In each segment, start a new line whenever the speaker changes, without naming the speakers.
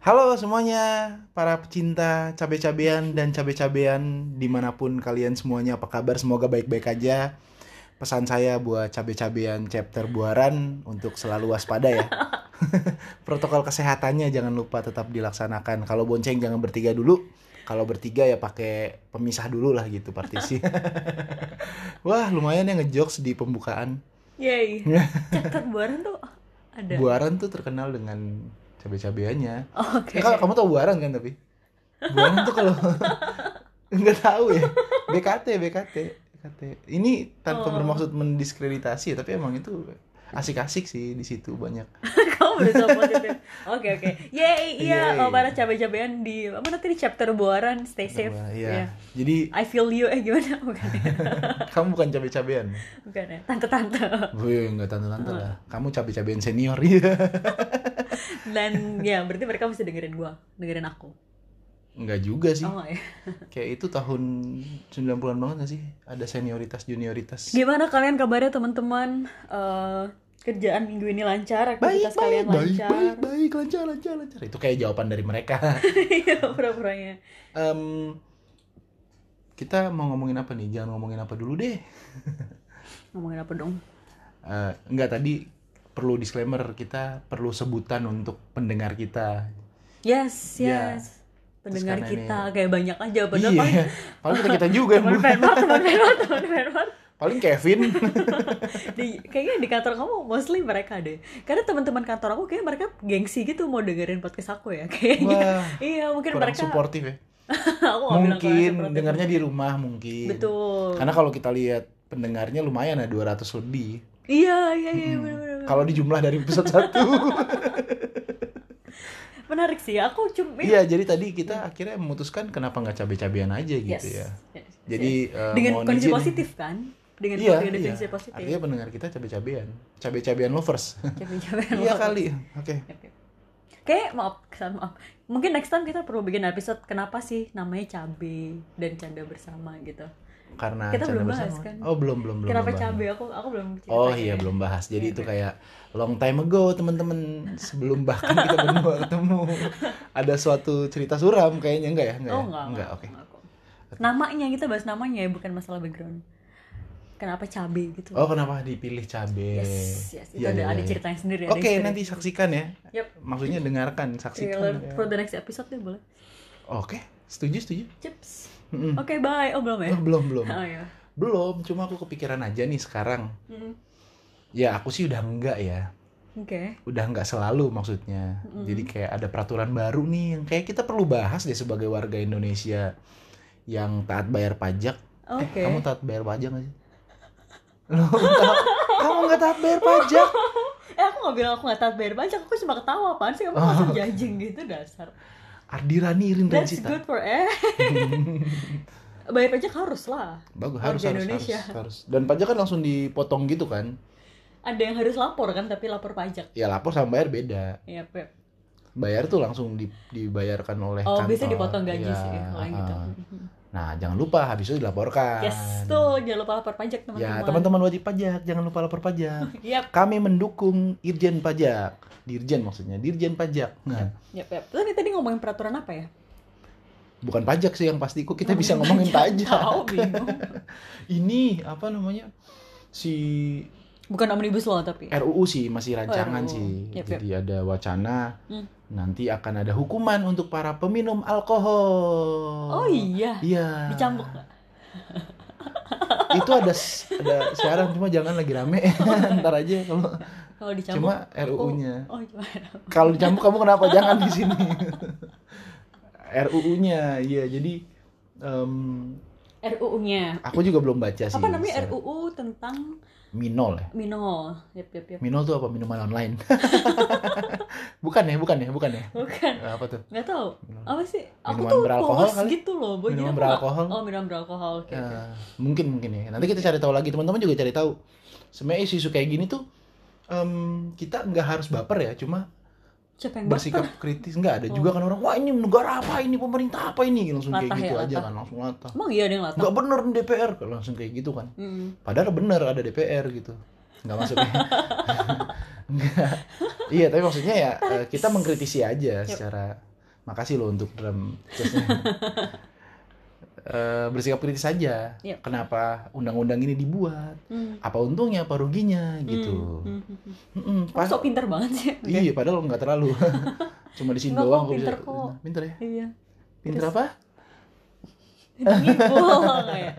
Halo semuanya, para pecinta cabe-cabean dan cabe-cabean dimanapun kalian semuanya apa kabar? Semoga baik-baik aja. Pesan saya buat cabe-cabean chapter buaran untuk selalu waspada ya. Protokol kesehatannya jangan lupa tetap dilaksanakan. Kalau bonceng jangan bertiga dulu. Kalau bertiga ya pakai pemisah dulu lah gitu partisi. Wah lumayan ya ngejokes di pembukaan.
Yay. Chapter buaran tuh ada.
Buaran tuh terkenal dengan cabe-cabeannya. Eh,
Oke.
kalau kamu tau buaran kan tapi buaran tuh kalau nggak tahu ya BKT BKT BKT ini tanpa
Oh.
bermaksud mendiskreditasi ya, tapi emang itu asik-asik sih di situ banyak
Kamu berusaha positif. Oke oke. Yay,
Yay.
iya oh, para cabe-cabean di apa nanti di chapter buaran stay safe.
Iya.
Iya.
jadi
I feel you eh gimana? Bukan ya.
kamu bukan cabe-cabean
Bukan ya. Tante-tante.
Wih, iya, nggak tante-tante lah kamu cabe-cabean senior iya
Dan ya berarti mereka mesti dengerin gua, dengerin aku.
nggak juga sih
Oh ya.
kayak itu tahun 90-an banget gak sih ada senioritas junioritas
Gimana kalian kabarnya teman-teman? Eh, kerjaan minggu ini lancar,
baik
aktivitas
baik
kalian
baik
lancar.
baik baik lancar lancar lancar itu kayak jawaban dari mereka
Iya, pura-puranya.
Em, kita mau ngomongin apa nih? Jangan ngomongin apa dulu deh.
Ngomongin apa dong?
Eh, enggak tadi perlu disclaimer kita perlu sebutan untuk pendengar kita.
Yes,
Iya.
yes. Pendengar
karena
kita kayak banyak aja padahal paling-
iya. Paling kita kita juga yang
teman
bu-
Venmar, teman Venmar, teman Venmar.
Paling Kevin.
Di- kayaknya di kantor kamu mostly mereka deh. Karena teman-teman kantor aku kayak mereka gengsi gitu mau dengerin podcast aku ya kayaknya.
Wah,
iya, mungkin
kurang
mereka
suportif ya.
aku nggak bilang kurang
Mungkin
supportive.
dengarnya di rumah mungkin.
Betul.
Karena kalau kita lihat pendengarnya lumayan ya 200 lebih.
Iya, iya, iya,
Hmm.
benar-benar.
Kalau dijumlah dari episode 1.
Menarik sih. Aku cuma
iya, jadi tadi kita akhirnya memutuskan kenapa nggak cabe-cabean aja gitu
iya. Yes.
ya.
Yes.
Jadi eh,
dengan
mohon
kondisi
izin.
positif kan? Dengan
Iya,
dengan
iya.
definisi positif.
Artinya pendengar kita cabe-cabean. Cabe-cabean lovers.
Capek-capek
iya
banget.
kali. Oke.
Oke. Kayak maaf, kesan maaf. Mungkin next time kita perlu bikin episode kenapa sih namanya cabe dan canda bersama gitu.
Karena
Kita
canda
belum bahas,
bersama.
kan?
Oh, belum belum belum.
Kenapa
belum bahas.
cabe? Aku aku belum cerita.
Oh iya belum bahas. Jadi
Iya,
itu
iya.
kayak long time ago teman-teman sebelum bahkan kita berdua ketemu ada suatu cerita suram kayaknya enggak ya enggak
Oh
ya?
enggak.
enggak oke
kok. Namanya kita bahas namanya ya, bukan masalah background. Kenapa cabe gitu?
oh kenapa dipilih cabe
Yes, yes. Itu
Iya,
ada
iya,
ada
iya.
ceritanya sendiri. ada
oke
history.
nanti saksikan ya
Yep.
maksudnya dengarkan
Trailer
saksikan ya.
for the next episode deh boleh.
oke setuju setuju
Chips.
Mm-mm.
Oke, bye. Oh, belum ya?
oh belum belum
Oh, iya.
belum cuma aku kepikiran aja nih sekarang
Mm-mm.
ya aku sih udah enggak ya
Oke.
udah nggak selalu maksudnya.
Mm-mm.
Jadi kayak ada peraturan baru nih yang kayak kita perlu bahas deh sebagai warga Indonesia yang taat bayar pajak. Eh,
Oke.
kamu taat bayar pajak nggak sih? Loh, enggak. kamu nggak taat bayar pajak?
Eh aku gak bilang aku gak taat bayar pajak, aku cuma ketawa apaan sih kamu
Oh.
langsung judging gitu dasar.
Ardirani Rindra
That's
Cita.
good for eh. bayar pajak harus lah.
Bagus
Warga
harus harus,
Indonesia.
harus harus. Dan pajak kan langsung dipotong gitu kan?
Ada yang harus lapor kan tapi lapor pajak.
Ya lapor sama bayar beda.
Iya, Pep.
Bayar tuh langsung di- dibayarkan oleh
Oh,
kantor.
biasanya dipotong gaji
Iya,
sih kalau yang gitu.
ah. Nah, jangan lupa habis itu dilaporkan.
Yes, tuh jangan lupa lapor pajak
Ya,
teman-teman.
teman-teman wajib pajak, jangan lupa lapor pajak.
Yap,
kami mendukung Irjen Pajak. Dirjen maksudnya, Dirjen Pajak. Nah,
yap, yap. Terus ini tadi ngomongin peraturan apa ya?
bukan pajak sih yang pasti kok kita bisa ngomongin pajak.
Tahu bingung.
Ini apa namanya? Si
Bukan omnibus law tapi.
RUU sih masih rancangan
RUU.
sih.
Yap,
Jadi ada wacana
Hmm.
nanti akan ada hukuman untuk para peminum alkohol.
Oh iya,
Iya.
dicambuk nggak?
Itu ada ada sekarang cuma jangan lagi rame. Ntar aja kalau
Kalau dicambuk.
cuma RUU-nya.
Oh, cuma.
kalau dicampur kamu kenapa jangan di sini RUU-nya iya jadi em,
RUU-nya.
aku juga belum baca Iya sih
Apa namanya
secara-
RUU tentang
minol ya
minol? Yap, yap, yap.
minol tuh apa minuman online bukan ya bukan ya bukan ya
Bukan.
apa tuh
Nggak tahu.
Minum-
Apa sih? Aku
Minuman
tuh
beralkohol
polos
kali?
gitu loh, Boy. Jadi
minuman
aku
beralkohol
nggak- Oh, minuman beralkohol. Oke. oke.
Eh, mungkin mungkin ya nanti kita cari tahu lagi teman-teman juga cari tahu sebenarnya isu-isu kayak gini tuh em, kita nggak harus baper ya cuma
Siapa yang Oh.
bersikap kritis nggak ada juga kan orang wah ini negara apa ini pemerintah apa ini langsung kayak
Latah ya,
gitu aja
latah.
kan langsung latah
baper? Emang iya ada yang latah.
nggak bener nih DPR Kalau langsung kayak gitu kan
Mm.
Padahal bener ada DPR gitu. Nggak masuk ya. Nggak. Iya, tapi maksudnya ya eh, kita mengkritisi aja
Yep.
secara Makasih loh untuk drum. Terusnya, eh, bersikap kritis saja.
Iya.
Kenapa undang-undang ini dibuat?
Hmm.
Apa untungnya, apa ruginya gitu.
Hmm, hmm, hmm.
Mm-mm,
Kamu
pas-
sok pinter banget sih.
Iya, padahal nggak terlalu. Cuma di sini
Nggak kok,
doang gua
pinter
bisa.
kok.
Pinter ya?
Iya.
Pinter
Terus-
apa?
Ngibul kayak.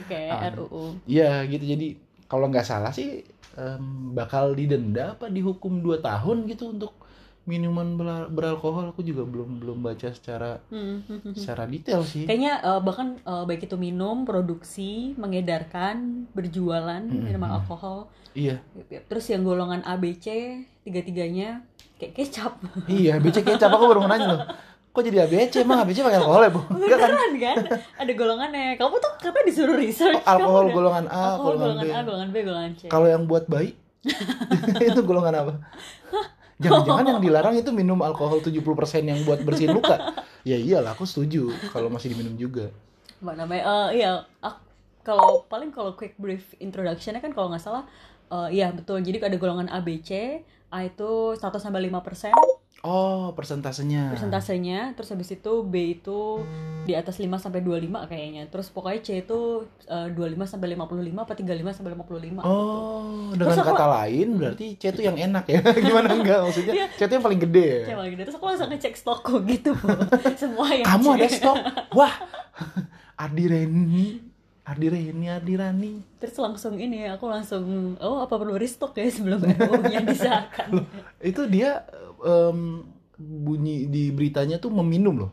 Oke,
Ah.
RUU.
Iya, gitu. Jadi kalau nggak salah sih em, bakal didenda apa dihukum 2 tahun gitu untuk minuman bela- beralkohol. Aku juga belum belum baca secara
Hmm, hmm, hmm.
secara detail sih.
Kayaknya eh, bahkan eh, baik itu minum, produksi, mengedarkan, berjualan
Hmm,
minuman
hmm.
alkohol.
Iya.
Yep, yep. Terus yang golongan ABC tiga-tiganya kayak kecap.
Iya, ABC kecap aku baru mau nanya loh. Kok jadi ABC? Emang ABC pakai alkohol ya, Bu? Enggak kan?
Beneran kan? Ada golongannya. Kamu tuh katanya disuruh research. kamu
Oh, Alkohol
udah-
golongan A,
alkohol
golongan,
golongan A,
B.
golongan B, golongan C.
Kalau yang buat bayi itu golongan apa? Jangan-jangan yang dilarang itu minum alkohol 70% yang buat bersihin luka. Ya iyalah, aku setuju kalau masih diminum juga.
Apa namanya? Eh, iya, ak- kalau paling kalau quick brief introduction-nya kan kalau nggak salah eh, iya betul. Jadi ada golongan ABC, A itu 1 sampai 5%
Oh, persentasenya.
persentasenya, terus habis itu B itu di atas 5 sampai 25 kayaknya. Terus pokoknya C itu eh, 25 sampai 55 apa 35 sampai 55 gitu.
Oh, dengan
Terus aku-
kata lain berarti C itu yang enak ya. Gimana enggak
Iya.
maksudnya? C itu yang paling gede ya.
Coba gitu. Terus aku langsung ngecek stokku gitu, Bu. Semua yang
Kamu
C.
ada stok? Wah. Ardi Reni, Ardi Reni, Ardi Rani.
Terus langsung ini aku langsung oh apa perlu restock ya sebelum RUU-nya disahkan.
Itu dia em, bunyi di beritanya tuh meminum loh.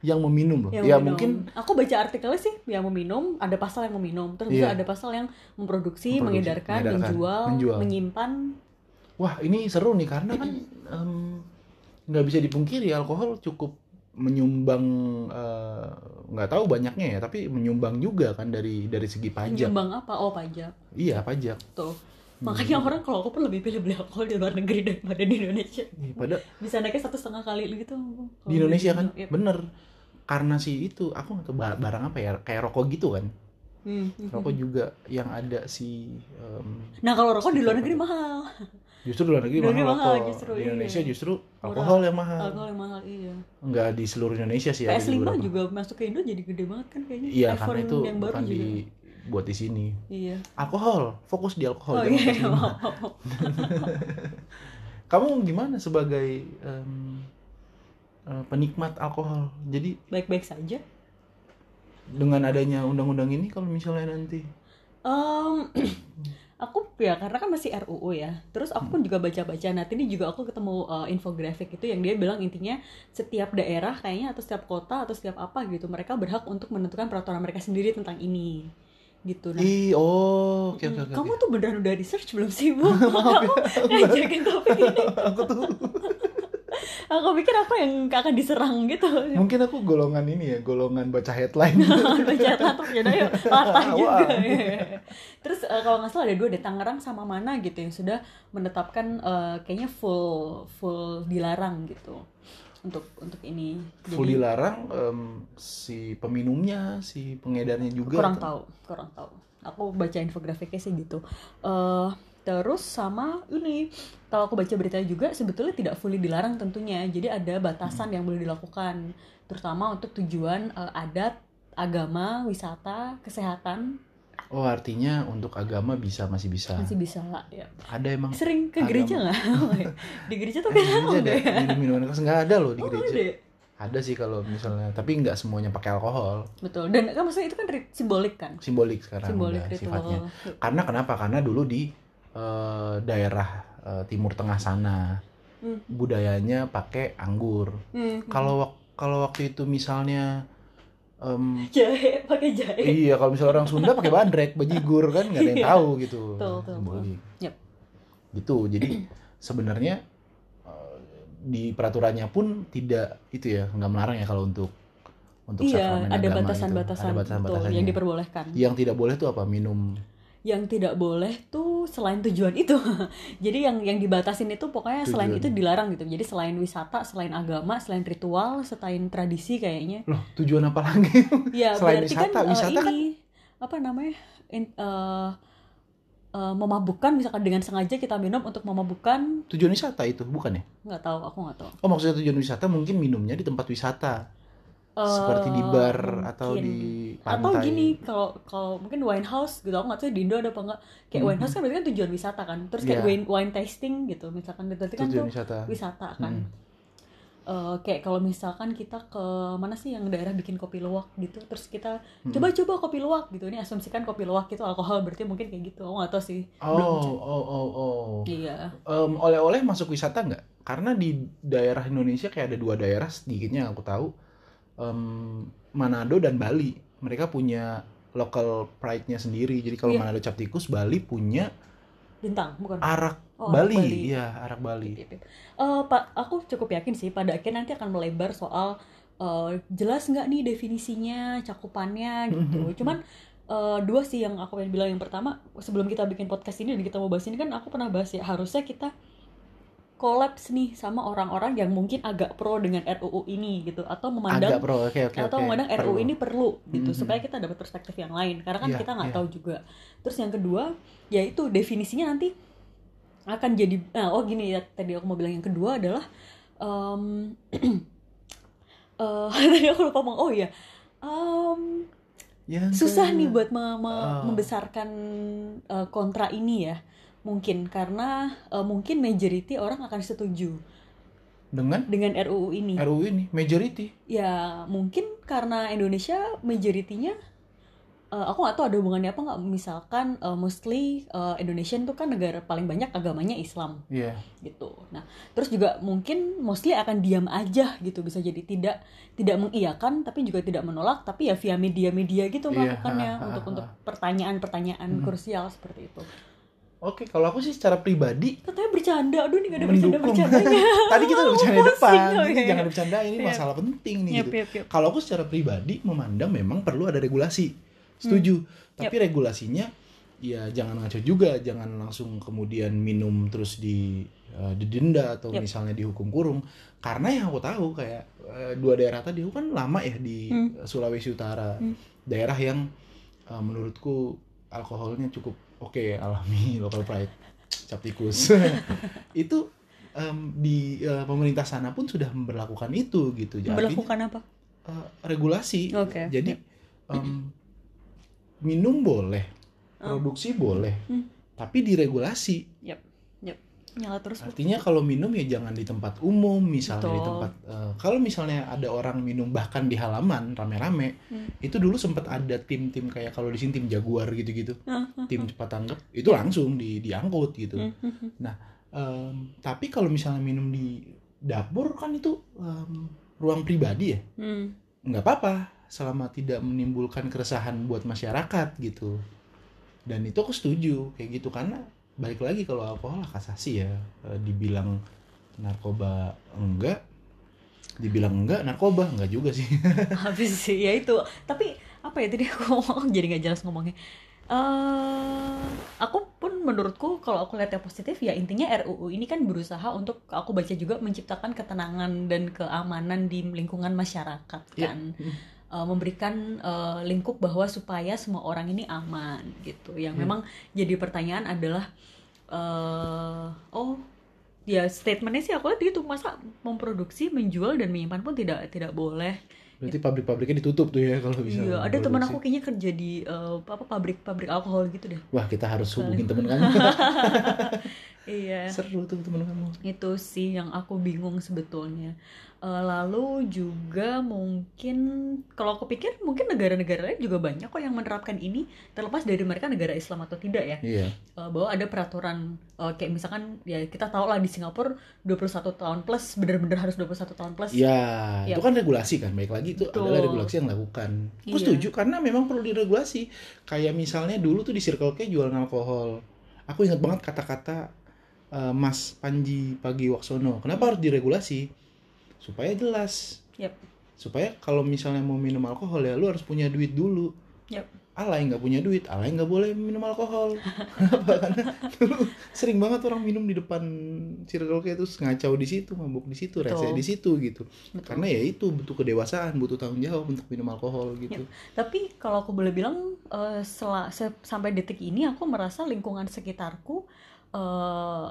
Yang meminum loh.
Yang
ya
meminum.
mungkin
aku baca artikelnya sih yang meminum ada pasal yang meminum, terus
Iya.
ada pasal yang
Memproduksi,
memproduksi, mengedarkan,
mengedarkan,
menjual,
menjual.
menyimpan.
wah ini seru nih karena kan em, nggak bisa dipungkiri alkohol cukup menyumbang eh, nggak tahu banyaknya ya tapi menyumbang juga kan dari dari segi pajak. Hmm.
Menyumbang apa? Oh, pajak.
Iya pajak.
Tuh. Makanya orang kalau aku pun lebih pilih beli alkohol di luar negeri daripada di Indonesia.
Iya, Pada
Bisa naiknya satu setengah kali gitu. kalau
di Indonesia kan
Iya.
bener karena si itu aku nggak tahu bar- barang apa ya kayak rokok gitu kan
Hmm, hmm, hmm.
rokok juga yang ada si em,
Nah kalau rokok di luar negeri
Iya.
mahal.
justru di luar negeri
Di luar
mahal
negeri mahal
rokok
justru,
di
iya.
Indonesia justru
Murah.
alkohol yang mahal
Alkohol yang mahal iya.
nggak di seluruh Indonesia sih ada Iya, di
PS5
beberapa.
juga masuk ke Indo jadi gede banget kan kayaknya.
iya
iPhone
karena itu
yang baru
bukan
juga.
dibuat di sini
Iya.
alkohol fokus di alkohol
Oh
jangan
iya.
PS5. kamu gimana sebagai em, eh, penikmat alkohol jadi
Baik-baik saja.
dengan adanya undang-undang ini kalau misalnya nanti
Em, aku ya karena kan masih RUU ya. Terus aku pun juga baca-baca. Nah tadi juga aku ketemu eh, infografik itu yang dia bilang intinya setiap daerah kayaknya atau setiap kota atau setiap apa gitu mereka berhak untuk menentukan peraturan mereka sendiri tentang ini gitu. Nah,
Ih, oh, oke oke
mm,
oke.
kamu tuh beneran udah research belum sih bu? kamu ngajakin topik ini.
aku tuh
Aku pikir apa yang akan diserang gitu.
mungkin aku golongan ini ya, golongan baca headline.
baca tato ya udah, yuk. latah
Wow.
juga terus eh, kalau nggak salah ada dua ada Tangerang sama mana gitu yang sudah menetapkan eh, kayaknya full full dilarang gitu untuk untuk ini
Full dilarang em, si peminumnya, si pengedarnya juga.
kurang
atau-
tahu kurang tahu aku baca infografiknya sih gitu eh terus sama ini kalau aku baca beritanya juga sebetulnya tidak fully dilarang tentunya jadi ada batasan
Hmm.
yang boleh dilakukan terutama untuk tujuan eh, adat agama wisata kesehatan
Oh, artinya untuk agama bisa masih bisa.
masih bisa ya
Ada emang
sering ke
Agama.
gereja nggak di gereja tuh
Eh,
kayak
di
apa
gereja ada
deh
minum-minuman keras nggak ada loh di
ya? oh
gereja.
ada
Ada sih kalau misalnya, tapi nggak semuanya pakai alkohol.
betul dan kan maksudnya itu kan ri- simbolik kan
Simbolik sekarang
simbolik
udah
ritual
ya, sifatnya. Karena kenapa? Karena dulu di eh, daerah eh, timur tengah sana
Hmm.
budayanya pakai anggur.
Hmm.
kalau wak- kalau waktu itu misalnya em,
jahe pakai jahe
iya kalau misalnya orang Sunda pakai bandrek bajigur kan nggak ada yang
Iya.
tahu gitu
Betul, betul,
Simbolik.
Yep.
gitu jadi sebenarnya eh, di peraturannya pun tidak itu ya nggak melarang ya kalau untuk untuk
iya
sakramen
ada
agama
batasan-batasan
itu. ada
betul,
batasan-batasannya Iya.
yang diperbolehkan
yang tidak boleh tuh apa minum
yang tidak boleh tuh selain tujuan itu jadi yang yang dibatasin itu pokoknya selain
Tujuan.
itu dilarang gitu jadi selain wisata selain agama selain ritual selain tradisi kayaknya
loh tujuan apa lagi
ya
Selain
berarti
wisata,
kan eh,
wisata kan-
ini apa namanya in- eh, eh, memabukkan misalkan dengan sengaja kita minum untuk memabukkan
Tujuan wisata itu bukan ya?
nggak tahu aku nggak tahu
Oh maksudnya tujuan wisata mungkin minumnya di tempat wisata
Eh,
seperti di bar atau
mungkin.
di pantai.
atau gini kalau kalau mungkin wine house gitu aku nggak tahu di Indo ada apa enggak kayak wine house kan berarti kan tujuan wisata kan terus
Mhm.
kayak
Iya.
wine wine tasting gitu misalkan berarti kan
tujuan
tuh
wisata.
wisata
Hmm.
kan Eh, kayak kalau misalkan kita ke mana sih yang daerah bikin kopi luwak gitu terus kita
Mm-mm.
coba-coba kopi luwak gitu ini asumsikan kopi luwak itu alkohol berarti mungkin kayak gitu aku nggak tahu sih belum
Oh,
cek.
oh, oh, oh.
iya
Em, oleh-oleh masuk wisata nggak? Karena di daerah Indonesia kayak ada dua daerah sedikitnya yang aku tahu, em, Manado dan Bali. Mereka punya local pride-nya sendiri. Jadi kalau
Iya.
Manado cap tikus, Bali punya
bintang bukan
arak
Oh,
Ah, Bali.
Bali.
Iya, arak Bali.
Pip, pip. Eh, Pak, aku cukup yakin sih pada akhirnya nanti akan melebar soal eh, jelas nggak nih definisinya, cakupannya
Mhm.
gitu. Cuman eh, dua sih yang aku pengen bilang. Yang pertama, sebelum kita bikin podcast ini dan kita mau bahas ini kan aku pernah bahas ya, harusnya kita kolaps nih sama orang-orang yang mungkin agak pro dengan RUU ini gitu atau memandang
Agak pro. Oke, oke,
atau
oke.
memandang RUU
Perlu.
ini perlu gitu
Mhm.
supaya kita dapat perspektif yang lain karena kan
Iya,
kita nggak
iya.
tahu juga terus yang kedua yaitu definisinya nanti akan jadi nah, oh gini ya tadi aku mau bilang yang kedua adalah em, eh, tadi aku lupa ngomong oh iya Em,
Yang
susah
ke-
nih buat me- me-
Ah.
membesarkan eh, kontra ini ya mungkin karena eh, mungkin majority orang akan setuju
dengan
dengan RUU ini
RUU ini majority.
ya mungkin karena Indonesia majoritinya eh, aku nggak tahu ada hubungannya apa nggak misalkan eh, mostly eh, Indonesian tuh kan negara paling banyak agamanya Islam
Iya.
gitu nah terus juga mungkin mostly akan diam aja gitu bisa jadi tidak tidak mengiyakan tapi juga tidak menolak tapi ya via media-media gitu
Iya,
melakukannya
ha, ha,
untuk
ha.
untuk pertanyaan-pertanyaan
Hmm.
krusial seperti itu
Oke, kalau aku sih secara pribadi
katanya bercanda aduh ini gak ada bercanda
mendukung.
bercandanya
Tadi kita udah bercanda di
Pusing,
depan,
oh,
jadi
iya,
jangan
iya.
bercanda ini
Iya.
masalah penting nih.
Yap,
gitu.
yap, yap.
Kalau aku secara pribadi memandang memang perlu ada regulasi. Setuju.
Hmm.
Tapi regulasinya ya jangan ngaco juga, jangan langsung kemudian minum terus di eh, didenda atau
Yap.
misalnya dihukum kurung. Karena yang aku tahu kayak eh, dua daerah tadi aku kan lama ya di eh,
Hmm.
Sulawesi Utara.
Hmm.
Daerah yang eh, menurutku alkoholnya cukup oke alami local pride cap tikus itu em, di eh, pemerintah sana pun sudah memperlakukan itu gitu Jadi,
melakukan apa
eh, regulasi.
Oke.
Jadi em, minum boleh,
Oh.
produksi boleh,
Hmm.
tapi diregulasi.
nyala terus Bu.
Artinya kalau minum ya jangan di tempat umum, misalnya di
Betul.
tempat eh, kalau misalnya ada orang minum bahkan di halaman rame-rame,
Hmm.
itu dulu sempat ada tim-tim kayak kalau di sini tim Jaguar gitu-gitu,
Ah, ah.
tim cepat tanggap, itu langsung di diangkut gitu.
Hmm, hmm, hmm.
Em, tapi kalau misalnya minum di dapur kan itu em, ruang pribadi ya.
Hmm.
nggak apa-apa selama tidak menimbulkan keresahan buat masyarakat gitu dan itu aku setuju kayak gitu karena balik lagi kalau alkohol hak asasi ya E, dibilang narkoba enggak dibilang enggak narkoba enggak juga sih
habis sih ya itu tapi apa ya tadi aku ngomong jadi nggak jelas ngomongnya eh aku pun menurutku kalau aku lihat yang positif ya intinya RUU ini kan berusaha untuk aku baca juga menciptakan ketenangan dan keamanan di lingkungan masyarakat
Iya.
kan Eh, memberikan eh, lingkup bahwa supaya semua orang ini aman gitu yang
Iya.
memang jadi pertanyaan adalah eh oh ya statementnya sih aku lihat gitu masa memproduksi menjual dan menyimpan pun tidak tidak boleh
berarti pabrik-pabriknya ditutup tuh ya kalau bisa
Iya, ada teman aku kayaknya kerja di eh, apa pabrik-pabrik alkohol gitu deh.
wah kita harus hubungin temen kamu
Iya.
seru tuh temen kamu
Itu sih yang aku bingung sebetulnya. Eh, lalu juga mungkin kalau aku pikir mungkin negara-negara lain juga banyak kok yang menerapkan ini terlepas dari mereka negara Islam atau tidak ya.
iya
Eh, bahwa ada peraturan eh, kayak misalkan ya kita tahu lah di Singapura 21 tahun plus bener-bener harus 21 tahun plus.
Ya,
Iya.
itu kan regulasi kan. Baik lagi itu
Betul.
adalah regulasi yang dilakukan. Aku
Iya.
setuju karena memang perlu diregulasi. Kayak misalnya dulu tuh di Circle K jualan alkohol. Aku ingat banget kata-kata eh, Mas Panji Pagiwaksono. Kenapa harus diregulasi? Supaya jelas.
Yap.
Supaya kalau misalnya mau minum alkohol ya lu harus punya duit dulu.
Yap.
alay nggak punya duit alay nggak boleh minum alkohol Kenapa? karena dulu sering banget orang minum di depan circle kayak terus ngacau di situ mabuk di situ rese
Betul.
di situ gitu
Betul.
karena ya itu butuh kedewasaan butuh tanggung jawab untuk minum alkohol gitu
Tapi kalau aku boleh bilang eh, sela- se- sampai detik ini aku merasa lingkungan sekitarku eh,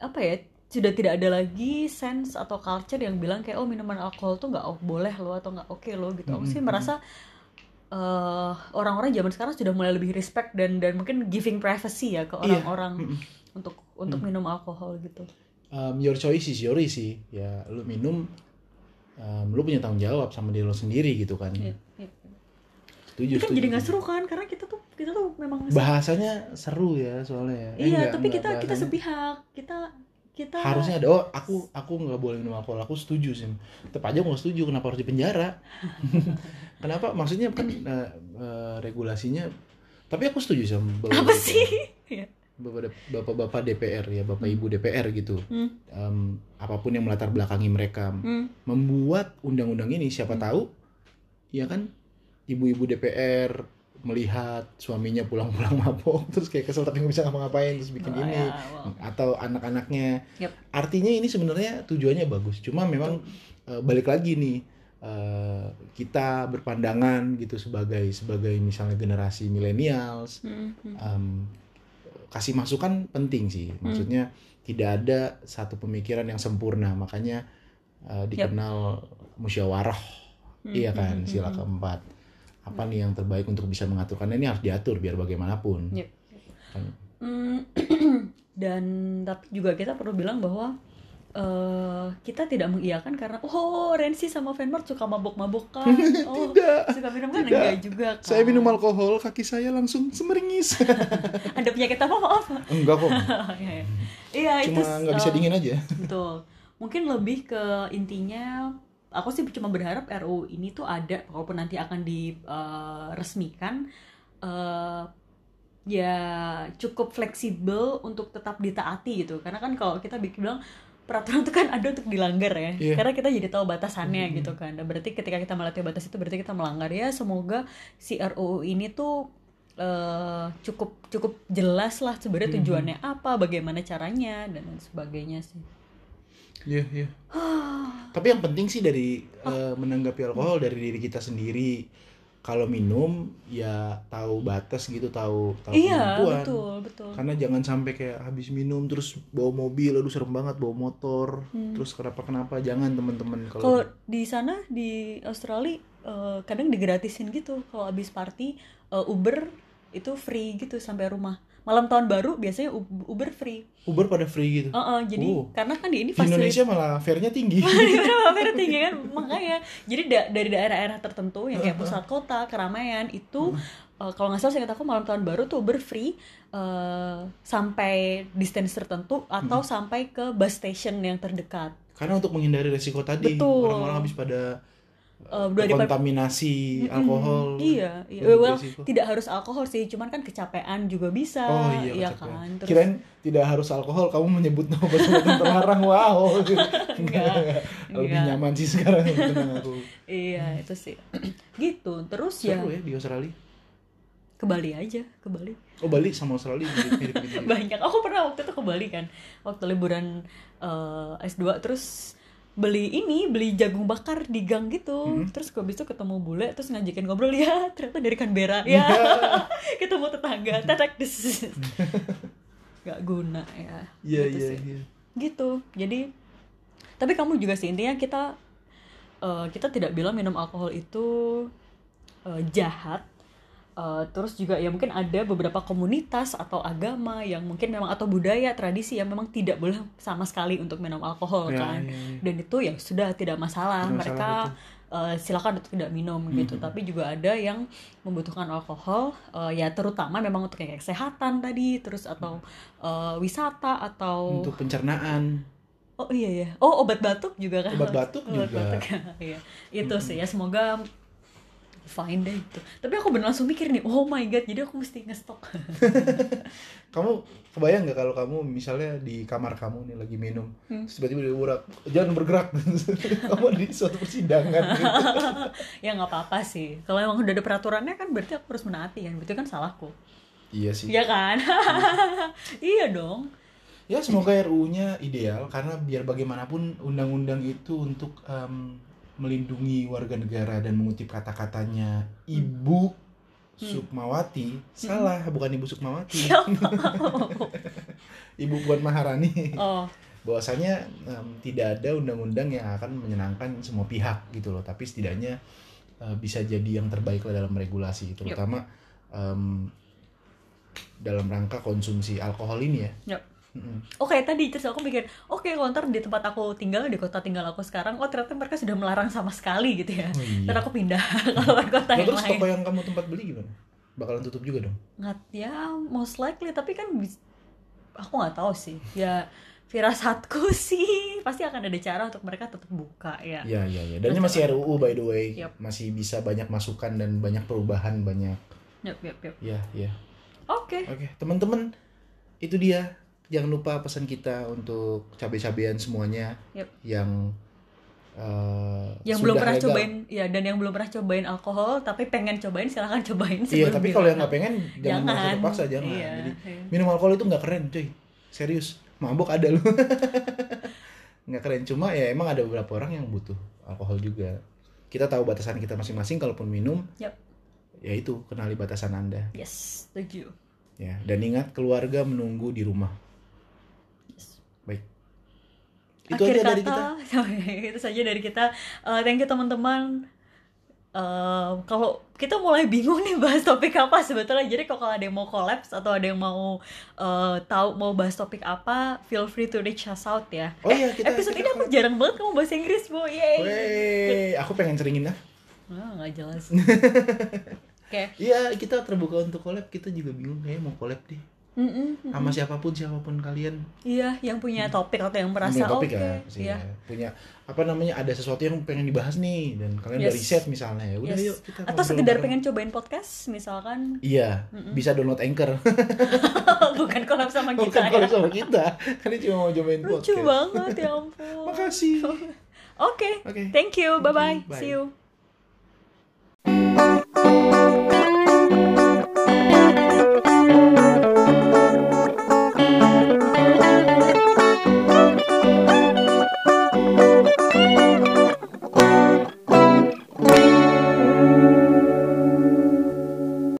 apa ya sudah tidak ada lagi sense atau culture yang bilang kayak oh minuman alkohol tuh nggak o- boleh lo atau nggak oke lo gitu. Aku sih
Mm-mm.
merasa eh, orang-orang zaman sekarang sudah mulai lebih respect dan dan mungkin giving privacy ya ke
Iya.
orang-orang
Mm-mm. Mm.
untuk untuk minum alkohol gitu.
Um, your choice is yours sih ya lu minum um, lu punya tanggung jawab sama diri lu sendiri gitu kan
Iya, iya.
setuju
Ini kan
setuju,
jadi nggak
setuju.
seru kan karena kita tuh kita tuh memang
bahasanya seru ya soalnya Eh,
iya
nggak,
tapi
nggak,
kita kita
bahasanya-
sepihak kita kita
harusnya ada oh aku aku nggak boleh minum alkohol aku setuju sih tetap aja aku nggak setuju kenapa harus dipenjara kenapa maksudnya kan eh, eh, regulasinya tapi aku setuju sama bapak-
apa sih Iya.
bapak bapak-bapak DPR ya bapak ibu DPR gitu
Hmm.
Em, apapun yang melatar belakangi mereka
Hmm,
membuat undang-undang ini siapa
Hmm.
tahu ya kan ibu-ibu DPR melihat suaminya pulang-pulang mabok terus kayak kesel tapi nggak bisa ngapa-ngapain terus bikin
wah,
ini
ya, wah.
atau anak-anaknya.
Yep.
Artinya ini sebenarnya tujuannya bagus. Cuma memang eh, balik lagi nih eh, kita berpandangan gitu sebagai sebagai misalnya generasi milenials
Hmm, hmm.
em, kasih masukan penting sih. Maksudnya tidak ada satu pemikiran yang sempurna. Makanya eh, dikenal musyawarah,
Hmm,
iya kan,
hmm,
sila
hmm, hmm.
keempat. Apa nih yang terbaik untuk bisa mengaturkan ini harus diatur biar bagaimanapun.
Yep. Hmm, dan tapi juga kita perlu bilang bahwa eh, kita tidak mengiyakan karena oh Rensi sama Vanmart suka mabok-mabokan oh
Tidak.
suka minum kan
Tidak.
enggak juga kan
Saya minum alkohol, kaki saya langsung semeringis.
ada penyakit apa maaf
Enggak kok.
Iya, iya. iya itu
Cuma nggak bisa
eh,
dingin aja.
Betul. Mungkin lebih ke intinya aku sih cuma berharap RU ini tuh ada walaupun nanti akan eh, diresmikan eh, ya cukup fleksibel untuk tetap ditaati gitu. Karena kan kalau kita bikin bilang peraturan itu kan ada untuk dilanggar ya.
Iya.
Karena kita jadi tahu batasannya
Mhm.
gitu kan. Dan berarti ketika kita melatih batas itu berarti kita melanggar ya. Semoga si RUU ini tuh eh, cukup cukup jelas lah sebenarnya
Mhm.
tujuannya apa, bagaimana caranya dan lain sebagainya sih.
Iya, iya.
Ah,
Tapi yang penting sih dari eh, menanggapi alkohol dari diri kita sendiri. Kalau minum ya tahu batas gitu, tahu tahu
Iya,
kemampuan.
betul, betul.
Karena jangan sampai kayak habis minum terus bawa mobil, aduh serem banget bawa motor,
Hmm.
terus kenapa kenapa jangan teman-teman
Kalau
kalau
di sana di Australia eh, kadang digratisin gitu kalau abis party eh, Uber itu free gitu sampai rumah. Malam tahun baru biasanya Ub- Uber free.
Uber pada free gitu.
Eh, eh, jadi
Oh.
karena kan di ini Iya.
Di Indonesia malah fare-nya tinggi.
Hampir tinggi kan makanya jadi da- dari daerah-daerah tertentu yang kayak pusat kota keramaian itu
Hmm.
eh, kalau nggak salah saya aku malam tahun baru tuh Uber free eh, sampai distance tertentu atau
Hmm.
sampai ke bus station yang terdekat
Karena untuk menghindari resiko tadi,
Betul.
orang-orang habis pada
Eh, udah ada
kontaminasi
Mm-mm.
alkohol.
Iya, iya.
lebih
Well,
beresiko.
tidak harus alkohol sih, cuman kan kecapean juga bisa,
Oh iya, kecapean.
kan. Terus
Kirain tidak harus alkohol, kamu menyebut nama obat-obatan terlarang. Wow.
Enggak,
Lebih
enggak.
nyaman sih sekarang tenang aku.
iya itu sih. gitu. Terus ya
Hmm. Seru ya di Australia.
ke Bali aja, ke Bali.
Oh Bali sama Australia mirip-mirip gitu. ya.
Banyak. Aku pernah waktu itu ke Bali kan. Waktu liburan eh, S2 terus beli ini, beli jagung bakar di gang gitu.
Hmm.
Terus gue itu ketemu bule, terus ngajakin ngobrol ya, ternyata dari Canberra. Ya.
Iya.
ketemu tetangga, tetek des. Gak guna ya.
Iya
Gitu
iya
sih.
iya.
gitu jadi tapi kamu juga sih intinya kita eh, kita tidak bilang minum alkohol itu eh, jahat Eh, terus juga ya mungkin ada beberapa komunitas atau agama yang mungkin memang atau budaya tradisi yang memang tidak boleh sama sekali untuk minum alkohol
Ya,
kan
ya, ya.
dan itu ya sudah tidak masalah
Tidak masalah, Hmm,
mereka eh, silakan untuk tidak minum gitu tapi juga ada yang membutuhkan alkohol eh, ya terutama memang untuk kayak kesehatan tadi terus atau eh, wisata
Hmm.
atau
Untuk pencernaan,
Oh iya ya. Oh obat batuk juga kan.
Obat batuk
Obat
juga.
batuk. iya. Itu sih ya semoga ya, fine deh gitu tapi aku bener langsung mikir nih oh my god jadi aku mesti ngestok
Kamu kebayang nggak kalau kamu misalnya di kamar kamu nih lagi minum,
Hmm.
terus tiba-tiba dia urak, jangan bergerak. kamu ada di suatu persidangan. Gitu.
ya nggak apa-apa sih kalau emang udah ada peraturannya kan berarti aku harus menaati kan berarti kan salahku
Iya sih.
Iya kan iya dong
Ya semoga RU-nya ideal karena biar bagaimanapun undang-undang itu untuk em, melindungi warga negara dan mengutip kata-katanya Ibu Sukmawati salah bukan Ibu Sukmawati
siapa
Ibu Puan Maharani
oh
bahwasanya em, tidak ada undang-undang yang akan menyenangkan semua pihak gitu loh tapi setidaknya eh, bisa jadi yang terbaik lah dalam regulasi terutama em, dalam rangka konsumsi alkohol ini ya
Yup.
Mm-mm.
oke tadi terus aku mikir oke kalau ntar di tempat aku tinggal di kota tinggal aku sekarang oh ternyata mereka sudah melarang sama sekali gitu ya
Oh, iya.
ntar aku pindah ke luar kota
Nah,
yang
terus
lain
toko yang kamu tempat beli gimana? Bakalan tutup juga dong?
nggak ya most likely tapi kan bis- aku nggak tahu sih ya firasatku sih pasti akan ada cara untuk mereka tetap buka ya
Iya, iya, iya. Dan ini masih RUU by the way.
Yap.
Masih bisa banyak masukan dan banyak perubahan banyak.
yep yep yep
Ya, ya.
oke
Oke, teman-teman, itu dia. Jangan lupa pesan kita untuk cabai-cabean semuanya
Yap.
yang eh,
yang
sudah
belum pernah
legal.
cobain ya dan yang belum pernah cobain alkohol tapi pengen cobain silahkan cobain
Iya,
sebelum
tapi
dilarang.
kalau yang nggak pengen jangan,
jangan
merasa terpaksa jangan.
Iya,
Jadi
iya.
minum alkohol itu nggak keren, cuy. Serius, mabok ada lu. nggak keren cuma ya emang ada beberapa orang yang butuh alkohol juga. Kita tahu batasan kita masing-masing kalaupun minum.
Yap.
Ya itu, kenali batasan Anda
yes setuju
ya. Dan ingat keluarga menunggu di rumah.
Yes.
Baik. Itu
Akhir
aja dari kita.
kata, itu saja dari kita. Eh, thank you teman-teman. Eh, kalau kita mulai bingung nih bahas topik apa sebetulnya. Jadi kalau ada yang mau collabs atau ada yang mau eh, tahu mau bahas topik apa, feel free to reach us out ya.
Oh iya, kita
Episode
kita-
ini aku jarang banget kamu bahasa Inggris, Bu. Yeay.
Wey, aku pengen seringin ah.
Ah, nggak jelas. Oke.
Iya, kita terbuka untuk collab. Kita juga bingung kayaknya mau collab deh.
Mm-mm.
Sama siapapun siapapun kalian
Iya, yang punya topik atau yang merasa
punya topik
oke.
ya, sih,
Iya.
ya. punya apa namanya ada sesuatu yang pengen dibahas nih dan kalian udah
Yes.
riset misalnya ya udah
Yes.
yuk kita
Atau
ngobrol
sekedar
bareng.
pengen cobain podcast misalkan
iya
Mm-mm.
bisa download anchor
bukan collab sama kita
bukan
ya.
kalau sama kita kan ini cuma mau cobain
Lucu
podcast
banget ya ampun.
makasih oke
Oke, thank you.
Thank
Bye-bye.
you. Bye.
See you.